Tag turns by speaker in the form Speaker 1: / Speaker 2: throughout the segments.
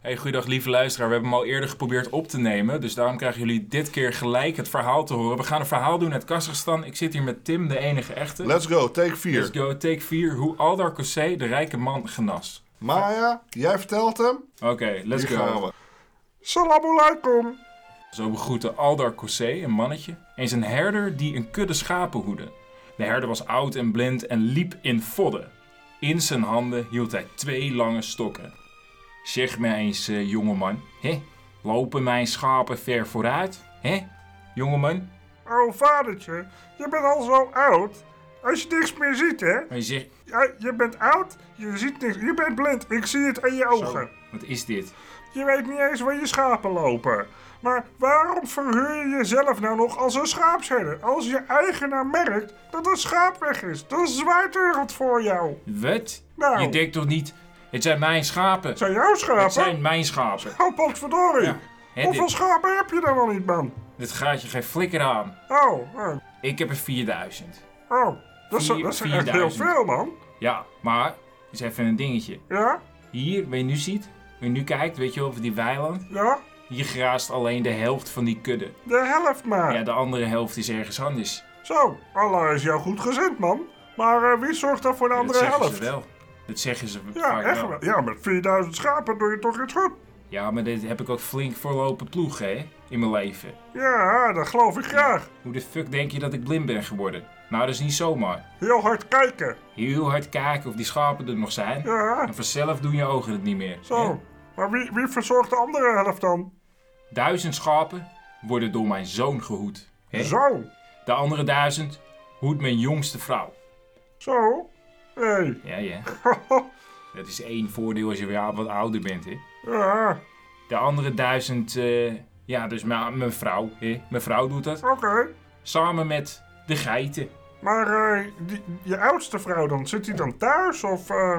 Speaker 1: Hey, goeiedag lieve luisteraar. We hebben hem al eerder geprobeerd op te nemen. Dus daarom krijgen jullie dit keer gelijk het verhaal te horen. We gaan een verhaal doen uit Kazachstan. Ik zit hier met Tim, de enige echte.
Speaker 2: Let's go, take 4.
Speaker 1: Let's go, take 4. Hoe Aldar Cossé de rijke man genas.
Speaker 2: Maya, jij vertelt hem.
Speaker 1: Oké, let's
Speaker 2: Hier
Speaker 1: go.
Speaker 2: gaan we. Salam alaikum.
Speaker 1: Zo begroette Aldar Cossé, een mannetje, eens een herder die een kudde schapen hoedde. De herder was oud en blind en liep in vodden. In zijn handen hield hij twee lange stokken. Zeg mij eens, eh, jongeman, hè? lopen mijn schapen ver vooruit? Hè, jongeman?
Speaker 3: Oh, vadertje, je bent al zo oud. Als je niks meer ziet, hè?
Speaker 1: Hij zegt,
Speaker 3: Ja, je bent oud, je ziet niks, je bent blind. Ik zie het aan je ogen.
Speaker 1: wat is dit?
Speaker 3: Je weet niet eens waar je schapen lopen. Maar waarom verhuur je jezelf nou nog als een schaapsherder? Als je eigenaar merkt dat een schaap weg is, dan zwaait er wat voor jou.
Speaker 1: Wat?
Speaker 3: Nou.
Speaker 1: Je denkt toch niet, het zijn mijn schapen?
Speaker 3: Zijn jouw
Speaker 1: Het
Speaker 3: schapen?
Speaker 1: zijn mijn schapen.
Speaker 3: Oh, potverdorie.
Speaker 1: Ja, hè,
Speaker 3: Hoeveel
Speaker 1: dit-
Speaker 3: schapen heb je dan wel niet, man?
Speaker 1: Dit gaat je geen flikker aan.
Speaker 3: Oh, oh,
Speaker 1: Ik heb er 4000.
Speaker 3: oh. Dat is,
Speaker 1: Vier-
Speaker 3: dat is echt heel
Speaker 1: 4000.
Speaker 3: veel, man.
Speaker 1: Ja, maar, is even een dingetje.
Speaker 3: Ja,
Speaker 1: Hier, wat je nu ziet, waar je nu kijkt, weet je wel, over die weiland.
Speaker 3: ja.
Speaker 1: Hier graast alleen de helft van die kudde.
Speaker 3: De helft maar.
Speaker 1: Ja, de andere helft is ergens anders.
Speaker 3: Zo, Allah is jou goed gezind, man. Maar eh, wie zorgt dan voor de
Speaker 1: dat
Speaker 3: andere
Speaker 1: zeggen
Speaker 3: helft?
Speaker 1: ze wel. Dat zeggen ze
Speaker 3: Ja,
Speaker 1: vaak
Speaker 3: echt
Speaker 1: wel.
Speaker 3: wel. Ja, met 4000 schapen doe je toch iets goed?
Speaker 1: Ja, maar dit heb ik ook flink voorlopen ploeg, hè, in mijn leven.
Speaker 3: Ja, dat geloof ik graag.
Speaker 1: Hoe de fuck denk je dat ik blind ben geworden? Nou, dat is niet zomaar.
Speaker 3: Heel hard kijken.
Speaker 1: Heel hard kijken of die schapen er nog zijn.
Speaker 3: Ja,
Speaker 1: En vanzelf doen je ogen het niet meer.
Speaker 3: zo.
Speaker 1: hè.
Speaker 3: Maar wie, wie verzorgt de andere helft dan?
Speaker 1: Duizend schapen worden door mijn zoon gehoed. hè.
Speaker 3: Zo,
Speaker 1: De andere duizend hoedt mijn jongste vrouw.
Speaker 3: zo. Hé, hey.
Speaker 1: Ja, ja. Dat is één voordeel als je weer wat ouder bent, hè.
Speaker 3: ja,
Speaker 1: De andere duizend, eh, ja, dus mijn, mijn vrouw, hè. Mijn vrouw doet dat.
Speaker 3: oké.
Speaker 1: Samen met de geiten.
Speaker 3: Maar eh, die, je oudste vrouw dan, zit die dan thuis of... eh,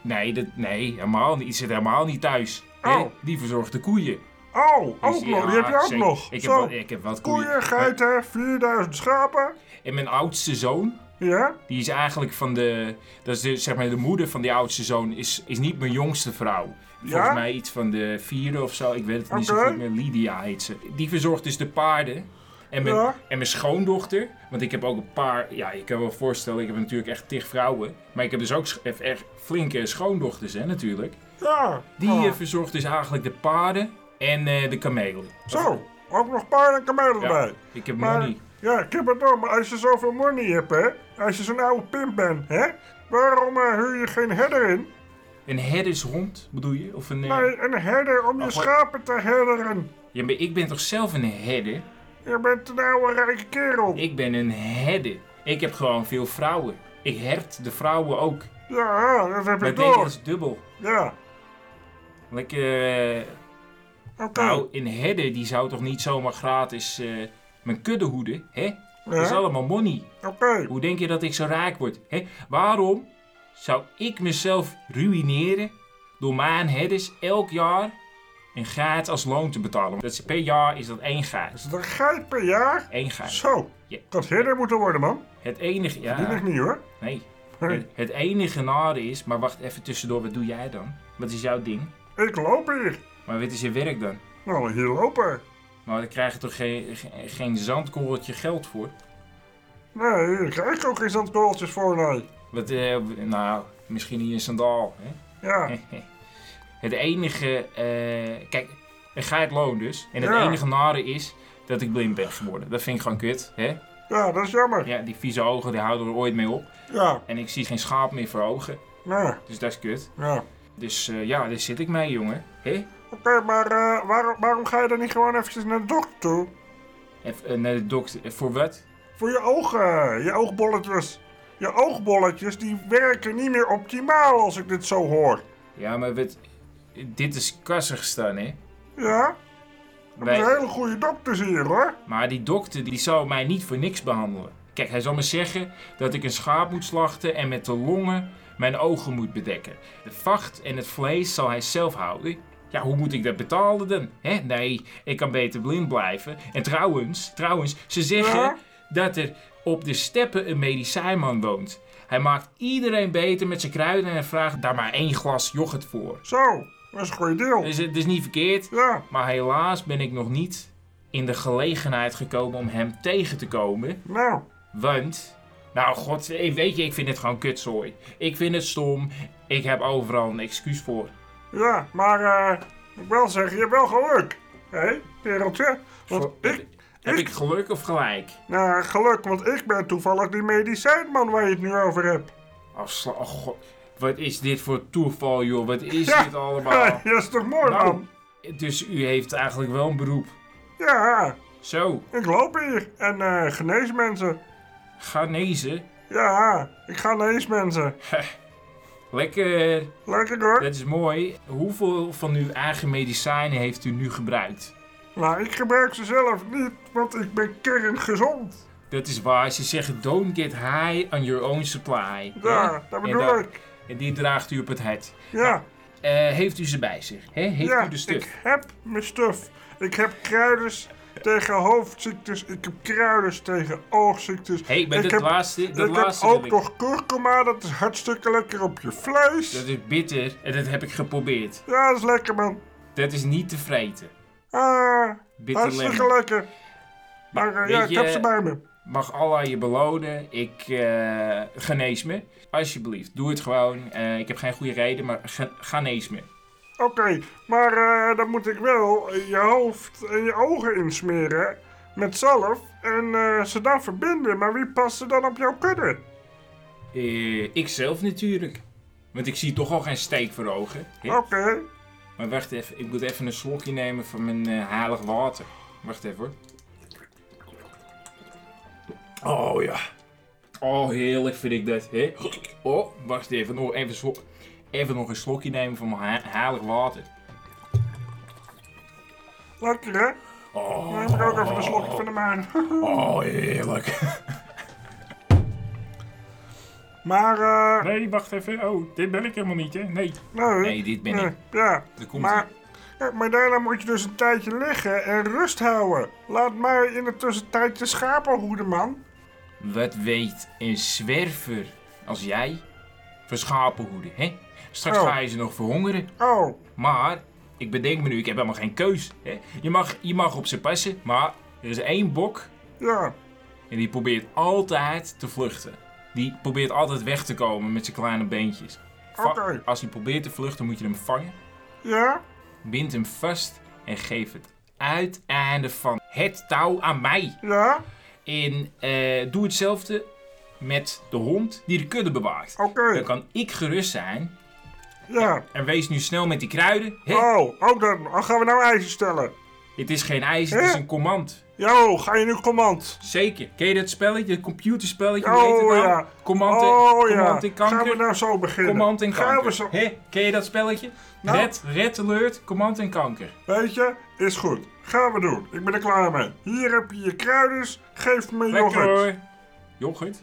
Speaker 1: Nee, dat, nee helemaal niet. Die zit helemaal niet thuis. Hè?
Speaker 3: Oh.
Speaker 1: Die verzorgt de koeien.
Speaker 3: Oh, ook
Speaker 1: Dus,
Speaker 3: nog, die
Speaker 1: ja,
Speaker 3: heb je ook
Speaker 1: zeker.
Speaker 3: nog.
Speaker 1: Ik heb,
Speaker 3: zo,
Speaker 1: wat, ik heb wat koeien.
Speaker 3: koeien, geiten, 4000 schapen.
Speaker 1: En mijn oudste zoon,
Speaker 3: Ja,
Speaker 1: die is eigenlijk van de... Dat is de, zeg maar de moeder van die oudste zoon, is, is niet mijn jongste vrouw. Volgens
Speaker 3: Ja?
Speaker 1: mij iets van de vierde of zo. Ik weet het niet zo
Speaker 3: Oké.
Speaker 1: goed meer. Lydia heet ze. Die verzorgt dus de paarden. En mijn,
Speaker 3: Ja.
Speaker 1: en mijn schoondochter. Want ik heb ook een paar... Ja, je kan wel voorstellen, ik heb natuurlijk echt tig vrouwen. Maar ik heb dus ook sch- echt- echt flinke schoondochters, hè, natuurlijk.
Speaker 3: ja.
Speaker 1: Die
Speaker 3: Ah.
Speaker 1: eh, verzorgt dus eigenlijk de paarden en eh, de kamelen.
Speaker 3: Zo, ook nog paarden en kamelen
Speaker 1: Ja,
Speaker 3: erbij.
Speaker 1: ik heb
Speaker 3: Maar,
Speaker 1: money.
Speaker 3: ja, ik heb het door, maar als je zoveel money hebt, hè? Als je zo'n oude pimp bent, hè? Waarom eh, huur je geen herder in?
Speaker 1: Een herdershond, bedoel je? Of een... eh,
Speaker 3: Nee, een herder om je
Speaker 1: Oh, wat-
Speaker 3: schapen te herderen.
Speaker 1: Ja, maar ik ben toch zelf een herder?
Speaker 3: Je bent een oude rijke kerel.
Speaker 1: Ik ben een herder. Ik heb gewoon veel vrouwen. Ik hert de vrouwen ook.
Speaker 3: Ja, dat heb
Speaker 1: Maar
Speaker 3: ik
Speaker 1: deze
Speaker 3: door.
Speaker 1: is dubbel.
Speaker 3: Ja,
Speaker 1: Lekker... eh,
Speaker 3: oké.
Speaker 1: Nou, een herder die zou toch niet zomaar gratis eh, mijn kudde hoeden, hè? Dat is
Speaker 3: Ja.
Speaker 1: allemaal money.
Speaker 3: Oké,
Speaker 1: Hoe denk je dat ik zo rijk word? Hè? Waarom zou ik mezelf ruïneren door mijn herders elk jaar een geit als loon te betalen? Dat is, per jaar is dat één geit.
Speaker 3: is dat een geit per jaar?
Speaker 1: Eén geit.
Speaker 3: Zo,
Speaker 1: Ja.
Speaker 3: dat herder moeten worden, man.
Speaker 1: Het enige...
Speaker 3: Die nog
Speaker 1: Ja,
Speaker 3: niet, hoor.
Speaker 1: nee.
Speaker 3: Hey,
Speaker 1: Het, het enige nare is... Maar wacht even tussendoor, wat doe jij dan? Wat is jouw ding?
Speaker 3: Ik loop hier.
Speaker 1: Maar wat is je werk dan?
Speaker 3: Nou, hier lopen.
Speaker 1: Maar daar krijg je toch geen, geen, geen zandkorreltje geld voor?
Speaker 3: Nee, hier krijg ik ook geen zandkorreltjes voor, nee.
Speaker 1: Wat, eh, nou, misschien niet een sandaal, hè?
Speaker 3: Ja,
Speaker 1: Het enige. eh, kijk, een geit loon dus. En het
Speaker 3: Ja.
Speaker 1: enige nare is dat ik blind ben geworden. Dat vind ik gewoon kut. Hè?
Speaker 3: ja, dat is jammer.
Speaker 1: Ja, die vieze ogen die houden er ooit mee op.
Speaker 3: Ja,
Speaker 1: En ik zie geen schaap meer voor ogen.
Speaker 3: nou,
Speaker 1: Dus dat is kut.
Speaker 3: ja.
Speaker 1: Dus eh, ja, daar zit ik mee, jongen. Hè?
Speaker 3: Oké, maar eh, waarom, waarom ga je dan niet gewoon eventjes naar de dokter toe?
Speaker 1: Even eh, naar de dokter. Eh, Voor wat?
Speaker 3: Voor je ogen, je oogbolletjes. Je oogbolletjes die werken niet meer optimaal als ik dit zo hoor.
Speaker 1: Ja, maar wat, dit is Kazachstan, hè?
Speaker 3: Ja? Dat
Speaker 1: Wij-
Speaker 3: is hele goede dokters hier hoor.
Speaker 1: Maar die dokter die zou mij niet voor niks behandelen. Kijk, hij zal me zeggen dat ik een schaap moet slachten en met de longen mijn ogen moet bedekken. De vacht en het vlees zal hij zelf houden. Ja, hoe moet ik dat betalen dan? Hè? Nee, ik kan beter blind blijven. En trouwens, trouwens, ze zeggen
Speaker 3: Ja?
Speaker 1: dat er op de steppen een medicijnman woont. Hij maakt iedereen beter met zijn kruiden en vraagt daar maar één glas yoghurt voor.
Speaker 3: Zo. Dat is een goede deal.
Speaker 1: Dus het is niet verkeerd.
Speaker 3: Ja,
Speaker 1: Maar helaas ben ik nog niet in de gelegenheid gekomen om hem tegen te komen.
Speaker 3: nou.
Speaker 1: Want, nou god, eh, weet je, ik vind het gewoon kutzooi. Ik vind het stom. Ik heb overal een excuus voor.
Speaker 3: Ja, maar eh, ik moet wel zeggen, je hebt wel geluk. Hé, kereltje. Want
Speaker 1: Zo,
Speaker 3: ik...
Speaker 1: Heb ik geluk of gelijk?
Speaker 3: Nou, geluk, want ik ben toevallig die medicijnman waar je het nu over hebt.
Speaker 1: Oh, sla- oh god, wat is dit voor toeval, joh? Wat is
Speaker 3: Ja.
Speaker 1: dit allemaal?
Speaker 3: dat is toch mooi,
Speaker 1: Nou,
Speaker 3: man?
Speaker 1: dus u heeft eigenlijk wel een beroep.
Speaker 3: Ja,
Speaker 1: Zo,
Speaker 3: ik loop hier en eh, genees mensen.
Speaker 1: Ghanese.
Speaker 3: Ja, ik ga genees mensen.
Speaker 1: Lekker,
Speaker 3: Lekker hoor.
Speaker 1: dat is mooi. Hoeveel van uw eigen medicijnen heeft u nu gebruikt?
Speaker 3: Nou, ik gebruik ze zelf niet, want ik ben kerngezond.
Speaker 1: Dat is waar, ze zeggen don't get high on your own supply.
Speaker 3: Ja,
Speaker 1: Hè?
Speaker 3: dat
Speaker 1: En
Speaker 3: bedoel
Speaker 1: dat-
Speaker 3: ik.
Speaker 1: En die draagt u op het hart.
Speaker 3: Ja,
Speaker 1: Eh, heeft u ze bij zich? Hè? Heeft
Speaker 3: ja,
Speaker 1: u de stuf?
Speaker 3: ik heb mijn stuf. Ik heb kruiders tegen hoofdziektes, ik heb kruiders tegen oogziektes.
Speaker 1: Hé, hey, maar
Speaker 3: ik
Speaker 1: dat
Speaker 3: heb,
Speaker 1: laatste, dat
Speaker 3: ik heb
Speaker 1: laatste wil
Speaker 3: ook
Speaker 1: ik-
Speaker 3: nog kurkuma, dat is hartstikke lekker op je vlees.
Speaker 1: Dat is bitter en dat heb ik geprobeerd.
Speaker 3: Ja, dat is lekker man.
Speaker 1: Dat is niet te vreten.
Speaker 3: Ah,
Speaker 1: Bitter
Speaker 3: hartstikke
Speaker 1: lemon.
Speaker 3: lekker. Maar eh, ja,
Speaker 1: weet
Speaker 3: ik heb
Speaker 1: je-
Speaker 3: ze bij me.
Speaker 1: Mag Allah je belonen. Ik eh, genees me. Alsjeblieft, doe het gewoon. Eh, ik heb geen goede reden, maar ge- genees me.
Speaker 3: Oké, maar eh, dan moet ik wel eh, je hoofd en je ogen insmeren met zalf en eh, ze dan verbinden. Maar wie past er dan op jouw kudde?
Speaker 1: Eh ikzelf natuurlijk. Want ik zie toch al geen steek voor ogen. hè?
Speaker 3: Oké,
Speaker 1: Maar wacht even, ik moet even een slokje nemen van mijn eh, heilig water. Wacht even hoor. Oh ja. Oh, heerlijk vind ik dat. Hè? Oh, wacht even. Nog even, slo- even nog een slokje nemen van mijn he- heilig water.
Speaker 3: lekker hè? Dan heb ik ook even een slokje van de maan.
Speaker 1: Oh, heerlijk.
Speaker 3: maar, eh...
Speaker 1: Nee, wacht even. Oh, dit ben ik helemaal niet, hè? Nee.
Speaker 3: nee,
Speaker 1: Nee, dit ben
Speaker 3: nee,
Speaker 1: ik.
Speaker 3: eh, Ja,
Speaker 1: Dat komt
Speaker 3: maar, ja, maar daarna moet je dus een tijdje liggen en rust houden. Laat mij in de tussentijd je schapen hoeden, man.
Speaker 1: Wat weet een zwerver als jij van schapenhoeden, hè? Straks
Speaker 3: Oh.
Speaker 1: ga je ze nog verhongeren.
Speaker 3: Oh,
Speaker 1: Maar, ik bedenk me nu, ik heb helemaal geen keus. Hè? Je, mag, je mag op ze passen, maar er is één bok
Speaker 3: ja.
Speaker 1: en die probeert altijd te vluchten. Die probeert altijd weg te komen met zijn kleine beentjes. Va-
Speaker 3: Oké.
Speaker 1: Als hij probeert te vluchten, moet je hem vangen,
Speaker 3: Ja?
Speaker 1: bind hem vast en geef het uiteinde van het touw aan mij.
Speaker 3: Ja?
Speaker 1: En eh, doe hetzelfde met de hond die de kudde bewaakt.
Speaker 3: Oké.
Speaker 1: Dan kan ik gerust zijn.
Speaker 3: Ja.
Speaker 1: En wees nu snel met die kruiden. Hè?
Speaker 3: Oh, ook dan. Dan gaan we nou eisen stellen.
Speaker 1: Het is geen ijs, het is
Speaker 3: Hè?
Speaker 1: een command.
Speaker 3: Yo, ga je nu command?
Speaker 1: Zeker. Ken je dat spelletje, dat computerspelletje?
Speaker 3: Oh,
Speaker 1: Hoe heet het nou?
Speaker 3: ja.
Speaker 1: Command, in-
Speaker 3: oh
Speaker 1: command
Speaker 3: ja.
Speaker 1: in kanker.
Speaker 3: Gaan we nou zo beginnen?
Speaker 1: Command in
Speaker 3: Gaan
Speaker 1: kanker.
Speaker 3: we zo...
Speaker 1: Hé, ken je dat spelletje?
Speaker 3: Nou.
Speaker 1: Red, red alert, command in kanker.
Speaker 3: Weet je, is goed. Gaan we doen. Ik ben er klaar mee. Hier heb je je kruiders. Geef me
Speaker 1: Lekker
Speaker 3: yoghurt.
Speaker 1: hoor. Yoghurt?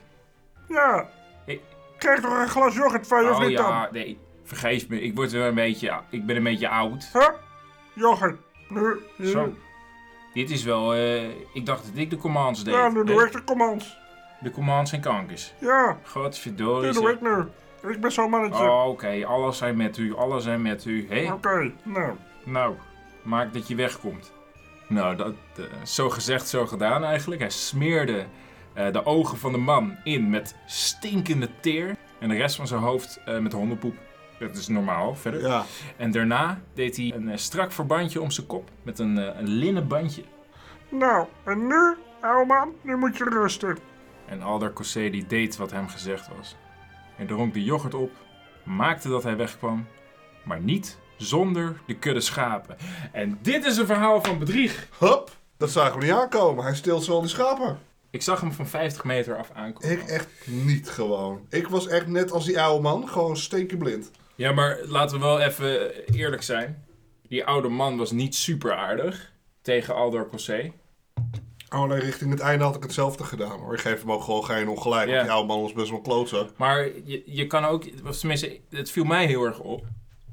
Speaker 3: Ja.
Speaker 1: Ik-
Speaker 3: Krijg nog een glas yoghurt van je of
Speaker 1: oh
Speaker 3: niet
Speaker 1: ja, nee. Vergeef me, ik word wel een beetje, ik ben een beetje oud.
Speaker 3: dan? Huh? Yoghurt. Nu. nu.
Speaker 1: Zo. Dit is wel, eh, ik dacht dat ik de commands deed.
Speaker 3: Ja, nu doe
Speaker 1: Nee,
Speaker 3: ik de commands.
Speaker 1: De commands en kankers.
Speaker 3: Ja,
Speaker 1: Godverdorie.
Speaker 3: nu doe ik nu. Ik ben zo'n
Speaker 1: zeg.
Speaker 3: mannetje.
Speaker 1: Oh, oké, alles zijn met u, alles zijn met u. Hé,
Speaker 3: Oké, nou.
Speaker 1: Nou, maak dat je wegkomt. Nou, dat, eh, zo gezegd, zo gedaan eigenlijk. Hij smeerde eh, de ogen van de man in met stinkende teer. En de rest van zijn hoofd eh, met hondenpoep. Dat is normaal, verder.
Speaker 2: Ja.
Speaker 1: En daarna deed hij een eh, strak verbandje om zijn kop. Met een, eh, een linnen bandje.
Speaker 3: Nou, en nu, oude man, nu moet je rusten.
Speaker 1: En Alder Cossé die deed wat hem gezegd was. Hij dronk de yoghurt op, maakte dat hij wegkwam, maar niet zonder de kudde schapen. En dit is een verhaal van bedrieg.
Speaker 2: Hup, dat zagen we niet aankomen. Hij steelt zo die schapen.
Speaker 1: Ik zag hem van 50 meter af aankomen.
Speaker 2: Ik echt niet gewoon. Ik was echt net als die oude man, gewoon stekenblind.
Speaker 1: Ja, maar laten we wel even eerlijk zijn. Die oude man was niet super aardig tegen Aldo Cossé.
Speaker 2: Alleen Oh, richting het einde had ik hetzelfde gedaan hoor. Ik geef hem ook gewoon geen ongelijk.
Speaker 1: Ja.
Speaker 2: Want die oude man was best wel een klootzak.
Speaker 1: Maar je, je kan ook, of tenminste, het viel mij heel erg op.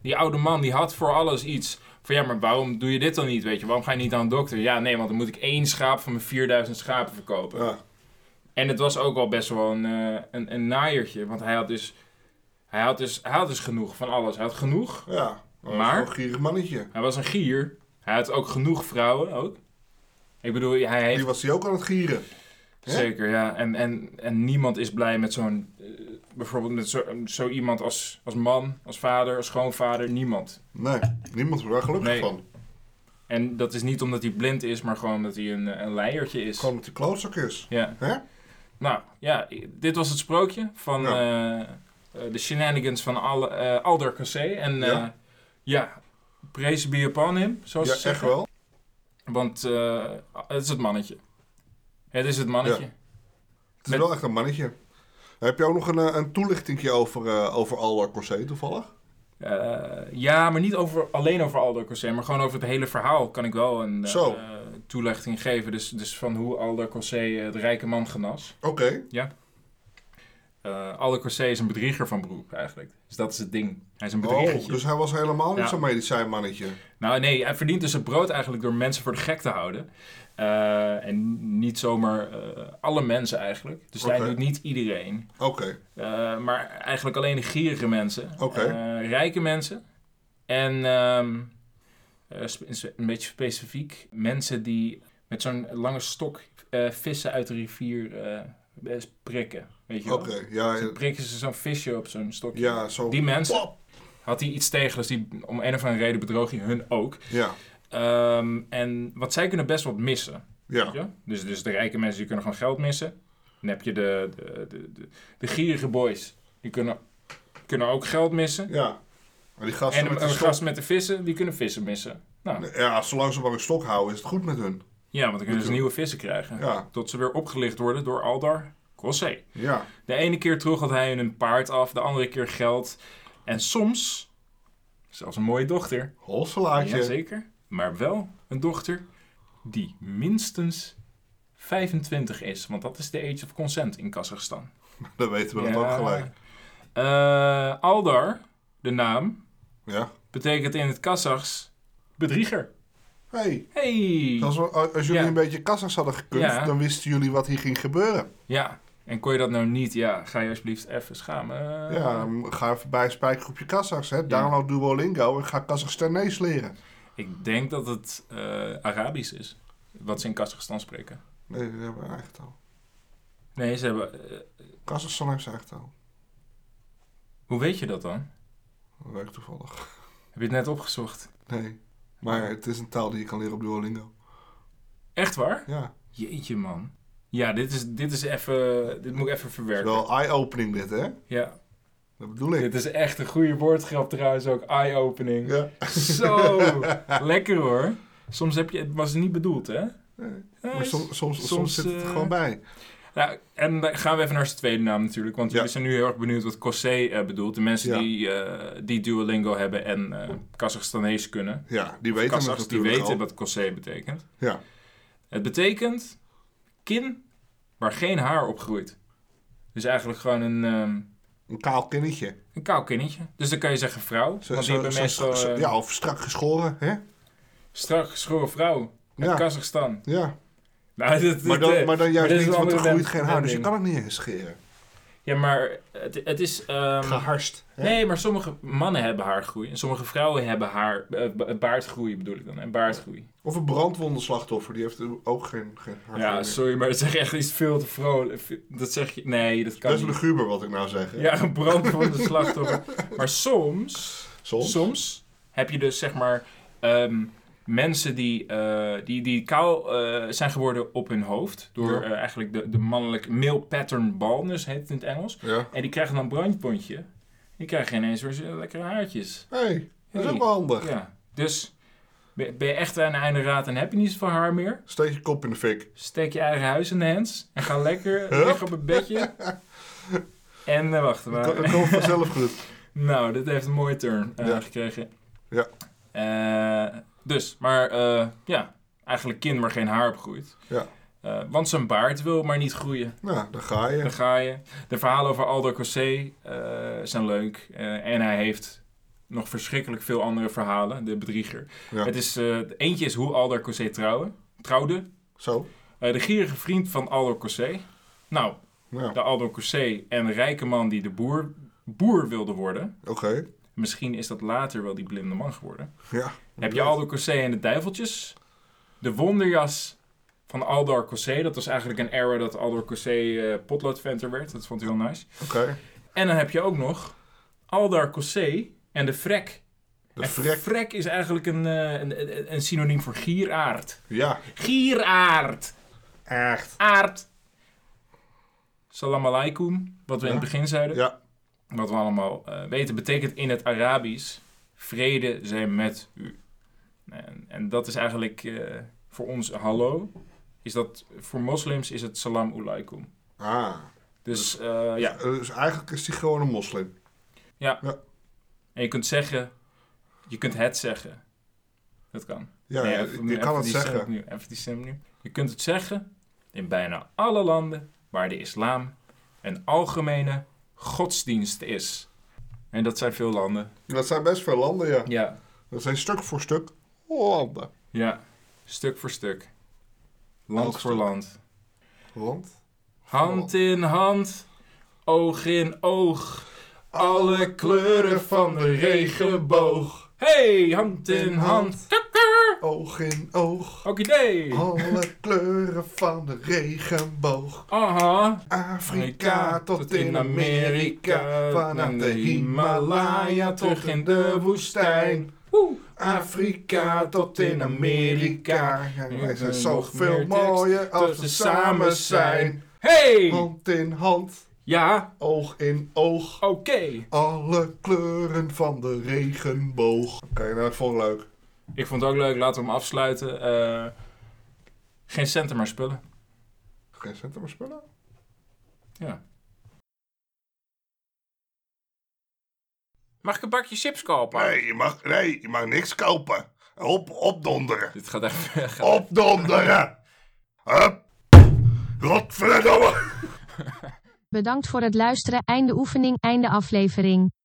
Speaker 1: Die oude man die had voor alles iets. Van ja, maar waarom doe je dit dan niet? Weet je, waarom ga je niet aan een dokter? Ja, nee, want dan moet ik één schaap van mijn 4000 schapen verkopen.
Speaker 2: Ja.
Speaker 1: En het was ook al best wel een, eh, een, een naaiertje. Want hij had, dus, hij, had dus, hij had dus genoeg van alles. Hij had genoeg
Speaker 2: ja. Oh,
Speaker 1: Maar-
Speaker 2: Zo'n gierig mannetje.
Speaker 1: Hij was een gier. Hij had ook genoeg vrouwen, ook. Ik bedoel, hij heeft
Speaker 2: Die was hij ook aan het gieren. Hè?
Speaker 1: Zeker, ja. En, en, en niemand is blij met zo'n... eh, bijvoorbeeld met zo, zo iemand als, als man, als vader, als schoonvader. Niemand.
Speaker 2: Nee, niemand wordt daar gelukkig
Speaker 1: Nee.
Speaker 2: van.
Speaker 1: En dat is niet omdat hij blind is, maar gewoon omdat hij een, eh, een leiertje is.
Speaker 2: Gewoon dat hij klootzak is.
Speaker 1: Ja.
Speaker 2: Hè?
Speaker 1: Nou, ja. i- Dit was het sprookje van eh, eh, de shenanigans van Al, eh, Alder Cassé. En eh,
Speaker 2: Ja.
Speaker 1: ja, praise be upon him, zoals
Speaker 2: Ja,
Speaker 1: ze
Speaker 2: echt
Speaker 1: zeggen.
Speaker 2: wel.
Speaker 1: Want eh, het is het mannetje. Het is het mannetje.
Speaker 2: Het is
Speaker 1: Met-
Speaker 2: wel echt een mannetje. Heb je ook nog een, eh, een toelichtingje over, eh over Alder Corset toevallig?
Speaker 1: Eh, ja, maar niet over, alleen over Aldo Corsé, maar gewoon over het hele verhaal kan ik wel een eh,
Speaker 2: Zo.
Speaker 1: eh, toelichting geven. Dus, dus van hoe Aldo Corsé eh, de rijke man genas.
Speaker 2: Oké.
Speaker 1: Eh Aldo Corsé is een bedrieger van beroep eigenlijk. Dus dat is het ding. Hij is een
Speaker 2: Oh,
Speaker 1: bedriegertje.
Speaker 2: dus hij was helemaal niet
Speaker 1: Ja.
Speaker 2: zo'n medicijnmannetje.
Speaker 1: Nou nee, hij verdient dus het brood eigenlijk door mensen voor de gek te houden. Eh, en niet zomaar eh, alle mensen eigenlijk. Dus
Speaker 2: Oké.
Speaker 1: hij doet niet iedereen.
Speaker 2: Oké.
Speaker 1: Eh, maar eigenlijk alleen de gierige mensen.
Speaker 2: Oké.
Speaker 1: Eh, rijke mensen. En ehm, eh, spe- spe- een beetje specifiek mensen die met zo'n lange stok eh, vissen uit de rivier eh, eh, prikken. Weet je
Speaker 2: Oké.
Speaker 1: wel?
Speaker 2: Ja,
Speaker 1: Dan
Speaker 2: eh,
Speaker 1: prikken ze zo'n visje op zo'n stokje.
Speaker 2: ja, zo.
Speaker 1: Die mensen
Speaker 2: Pop!
Speaker 1: had hij iets tegen, dus die, om een of andere reden bedroog hij hun ook.
Speaker 2: Ja.
Speaker 1: Ehm, en wat zij kunnen best wat missen.
Speaker 2: Ja.
Speaker 1: Ja? Dus, dus de rijke mensen die kunnen gewoon geld missen. Dan heb je de, de, de, de, de gierige boys. Die kunnen, kunnen ook geld missen.
Speaker 2: Ja. Maar die gasten
Speaker 1: en
Speaker 2: met
Speaker 1: een,
Speaker 2: die
Speaker 1: een
Speaker 2: stok...
Speaker 1: gast met de vissen, die kunnen vissen missen. Nou,
Speaker 2: Ja, zolang ze maar een stok houden, is het goed met hun.
Speaker 1: ja, want dan kunnen ze nieuwe vissen krijgen.
Speaker 2: Ja.
Speaker 1: Tot ze weer opgelicht worden door Aldar Cossé.
Speaker 2: Ja.
Speaker 1: De ene keer terug had hij hun een paard af, de andere keer geld. En soms, zelfs een mooie dochter.
Speaker 2: Hosselaatje.
Speaker 1: Jazeker. Maar wel een dochter die minstens 25 is. Want dat is de age of consent in Kazachstan.
Speaker 2: Dan weten we dat
Speaker 1: Ja.
Speaker 2: ook gelijk.
Speaker 1: Eh, Aldar, de naam,
Speaker 2: Ja.
Speaker 1: betekent in het Kazachs bedrieger.
Speaker 2: Hey,
Speaker 1: Hey!
Speaker 2: als, we, als jullie
Speaker 1: Ja.
Speaker 2: een beetje kassas hadden gekund,
Speaker 1: Ja.
Speaker 2: dan wisten jullie wat hier ging gebeuren.
Speaker 1: Ja, en kon je dat nou niet? Ja, ga je alsjeblieft even schamen. Eh,
Speaker 2: ja, dan ga even bij een spijkergroepje kassas, hè. Download Duolingo en ga Kazachstanees leren.
Speaker 1: Ik denk dat het eh, Arabisch is, wat ze in Kazachstan spreken.
Speaker 2: Nee, dat hebben we eigen taal.
Speaker 1: Nee, ze hebben... eh,
Speaker 2: Kazachstan heeft zijn eigen taal.
Speaker 1: hoe weet je dat dan?
Speaker 2: Dat weet ik toevallig.
Speaker 1: Heb je het net opgezocht?
Speaker 2: Nee. Maar het is een taal die je kan leren op Duolingo.
Speaker 1: Echt waar?
Speaker 2: Ja.
Speaker 1: Jeetje, man. Ja, dit is, dit is even... Dit moet ik even
Speaker 2: Het is
Speaker 1: verwerken.
Speaker 2: wel eye-opening dit, hè?
Speaker 1: Ja.
Speaker 2: Dat bedoel ik.
Speaker 1: Dit is echt een goede woordgrap trouwens ook. Eye-opening.
Speaker 2: Ja.
Speaker 1: Zo, lekker hoor. Soms heb je, het was niet bedoeld, hè?
Speaker 2: Nee.
Speaker 1: Ja,
Speaker 2: Maar som- soms, soms,
Speaker 1: soms,
Speaker 2: zit het er
Speaker 1: eh,
Speaker 2: gewoon bij.
Speaker 1: Nou, en dan gaan we even naar zijn tweede naam natuurlijk. Want
Speaker 2: Ja.
Speaker 1: jullie zijn nu heel erg benieuwd wat Cossé eh, bedoelt. De mensen
Speaker 2: Ja.
Speaker 1: die, eh, die Duolingo hebben en eh Kazachstanees kunnen.
Speaker 2: Ja, die weten het
Speaker 1: Kazachs, die
Speaker 2: natuurlijk
Speaker 1: weten
Speaker 2: al.
Speaker 1: wat Cossé betekent.
Speaker 2: Ja.
Speaker 1: Het betekent kin waar geen haar op groeit. Dus eigenlijk gewoon een, ehm
Speaker 2: Een kaal kinnetje.
Speaker 1: een kaal kinnetje. Dus dan kan je zeggen vrouw.
Speaker 2: Zo-
Speaker 1: want die
Speaker 2: zo-
Speaker 1: hebben
Speaker 2: zo-
Speaker 1: meestal
Speaker 2: zo-
Speaker 1: eh,
Speaker 2: ja, of strak geschoren, hè?
Speaker 1: strak geschoren vrouw. Uit
Speaker 2: Ja.
Speaker 1: Kazachstan.
Speaker 2: Ja.
Speaker 1: Nou, dit-
Speaker 2: Maar
Speaker 1: dit,
Speaker 2: dan,
Speaker 1: eh,
Speaker 2: maar dan
Speaker 1: maar
Speaker 2: juist
Speaker 1: dit is
Speaker 2: niet,
Speaker 1: een
Speaker 2: want er
Speaker 1: andere
Speaker 2: groeit geen haar. Dus je
Speaker 1: wending.
Speaker 2: kan het niet eens scheren.
Speaker 1: Ja, maar het, het is... ehm,
Speaker 2: Geharst. Hè?
Speaker 1: nee, maar sommige mannen hebben haargroei. En sommige vrouwen hebben haar... eh, ba- baardgroei bedoel ik dan. En baardgroei.
Speaker 2: Of een brandwondenslachtoffer, die heeft ook geen, geen haar.
Speaker 1: Ja,
Speaker 2: meer.
Speaker 1: sorry, maar dat zeg je echt iets veel te vrolijk. Dat zeg je... Nee, dat kan
Speaker 2: Dat is
Speaker 1: niet.
Speaker 2: luguber wat ik nou zeg. hè?
Speaker 1: Ja, een brand van de slachtoffer. Maar soms...
Speaker 2: Soms.
Speaker 1: Soms heb je dus zeg maar... ehm, mensen die, eh, die, die kaal eh, zijn geworden op hun hoofd. Door
Speaker 2: Ja.
Speaker 1: eh, eigenlijk de, de mannelijke... Male pattern baldness heet het in het Engels.
Speaker 2: Ja.
Speaker 1: En die krijgen dan een brandpontje. Die krijgen ineens weer zo- lekkere haartjes.
Speaker 2: hey, dat is
Speaker 1: Hey.
Speaker 2: ook wel handig.
Speaker 1: Ja. Dus ben ben je echt aan de einde raad en heb je niet zoveel haar meer?
Speaker 2: Steek je kop in de fik.
Speaker 1: Steek je eigen huis in de hens en ga lekker
Speaker 2: Hup.
Speaker 1: liggen op het bedje. En eh, wacht
Speaker 2: Dat
Speaker 1: maar.
Speaker 2: dat komt vanzelf goed.
Speaker 1: Nou, dit heeft een mooie turn eh,
Speaker 2: Ja.
Speaker 1: gekregen.
Speaker 2: Ja.
Speaker 1: Eh, dus, maar eh, ja, eigenlijk kind waar geen haar op groeit.
Speaker 2: Ja.
Speaker 1: Eh, want zijn baard wil maar niet groeien.
Speaker 2: Nou, daar ga je.
Speaker 1: Daar ga je. De verhalen over Aldo Cossé eh, zijn leuk. Eh, en hij heeft nog verschrikkelijk veel andere verhalen, de bedrieger.
Speaker 2: Ja.
Speaker 1: Het is, eh, eentje is hoe Aldo Cossé trouwen, trouwde.
Speaker 2: Zo.
Speaker 1: Eh, de gierige vriend van Aldo Cossé. Nou,
Speaker 2: Ja,
Speaker 1: de Aldo Cossé en de rijke man die de boer, boer wilde worden.
Speaker 2: oké.
Speaker 1: Misschien is dat later wel die blinde man geworden.
Speaker 2: Ja.
Speaker 1: heb je Aldo Cossé en de Duiveltjes. De wonderjas van Aldo Cossé. Dat was eigenlijk een era dat Aldo Cossé eh, potloodventer werd. Dat vond ik heel nice.
Speaker 2: Oké.
Speaker 1: En dan heb je ook nog Aldo Cossé en de Vrek.
Speaker 2: De
Speaker 1: En
Speaker 2: vrek.
Speaker 1: Vrek is eigenlijk een, eh, een, een, een synoniem voor gieraard.
Speaker 2: Ja.
Speaker 1: Gieraard!
Speaker 2: Echt.
Speaker 1: Aard! Salam alaikum, wat we in het begin zeiden.
Speaker 2: Ja.
Speaker 1: Wat we allemaal eh, weten, betekent in het Arabisch... Vrede zijn met u. En, en dat is eigenlijk eh, voor ons hallo. Is dat, voor moslims is het salam alaikum.
Speaker 2: Ah.
Speaker 1: Dus eh, ja,
Speaker 2: Dus eigenlijk is hij gewoon een moslim.
Speaker 1: en je kunt zeggen... Je kunt het zeggen. Dat kan.
Speaker 2: Ja,
Speaker 1: Nee,
Speaker 2: ja,
Speaker 1: even-
Speaker 2: je
Speaker 1: even
Speaker 2: kan het
Speaker 1: die stem
Speaker 2: zeggen.
Speaker 1: opnieuw, even die stem opnieuw. Je kunt het zeggen in bijna alle landen waar de islam een algemene godsdienst is. En dat zijn veel landen.
Speaker 2: Dat zijn best veel landen, ja.
Speaker 1: Ja.
Speaker 2: Dat zijn stuk voor stuk landen.
Speaker 1: Ja, stuk voor stuk. Land
Speaker 2: Elk
Speaker 1: voor
Speaker 2: stuk.
Speaker 1: land.
Speaker 2: Land?
Speaker 1: Hand in hand, oog in oog. Alle kleuren van de regenboog. Hey, hand in hand.
Speaker 2: Oog in oog.
Speaker 1: Oké.
Speaker 2: Oh. Alle kleuren van de regenboog.
Speaker 1: Aha.
Speaker 2: Afrika tot in Amerika. Vanaf de Himalaya tot in de woestijn.
Speaker 1: Woe.
Speaker 2: Afrika tot in Amerika. Ja,
Speaker 1: Ja,
Speaker 2: wij zijn
Speaker 1: nog
Speaker 2: zoveel
Speaker 1: meer tekst
Speaker 2: mooier als
Speaker 1: tussen
Speaker 2: we samen zijn.
Speaker 1: Hey!
Speaker 2: Hand in hand,
Speaker 1: Ja,
Speaker 2: oog in oog.
Speaker 1: oké.
Speaker 2: Alle kleuren van de regenboog. Oké, nou dat vond ik leuk.
Speaker 1: Ik vond het ook leuk, laten we hem afsluiten. Eh, geen centen maar spullen.
Speaker 2: Geen centen maar spullen?
Speaker 1: Ja. Mag ik een bakje chips kopen?
Speaker 2: Nee, je mag, nee, je mag niks kopen. Op, opdonderen.
Speaker 1: Dit gaat echt weg.
Speaker 2: Opdonderen. Hup. Godverdomme.
Speaker 4: Bedankt voor het luisteren. Einde oefening, einde aflevering.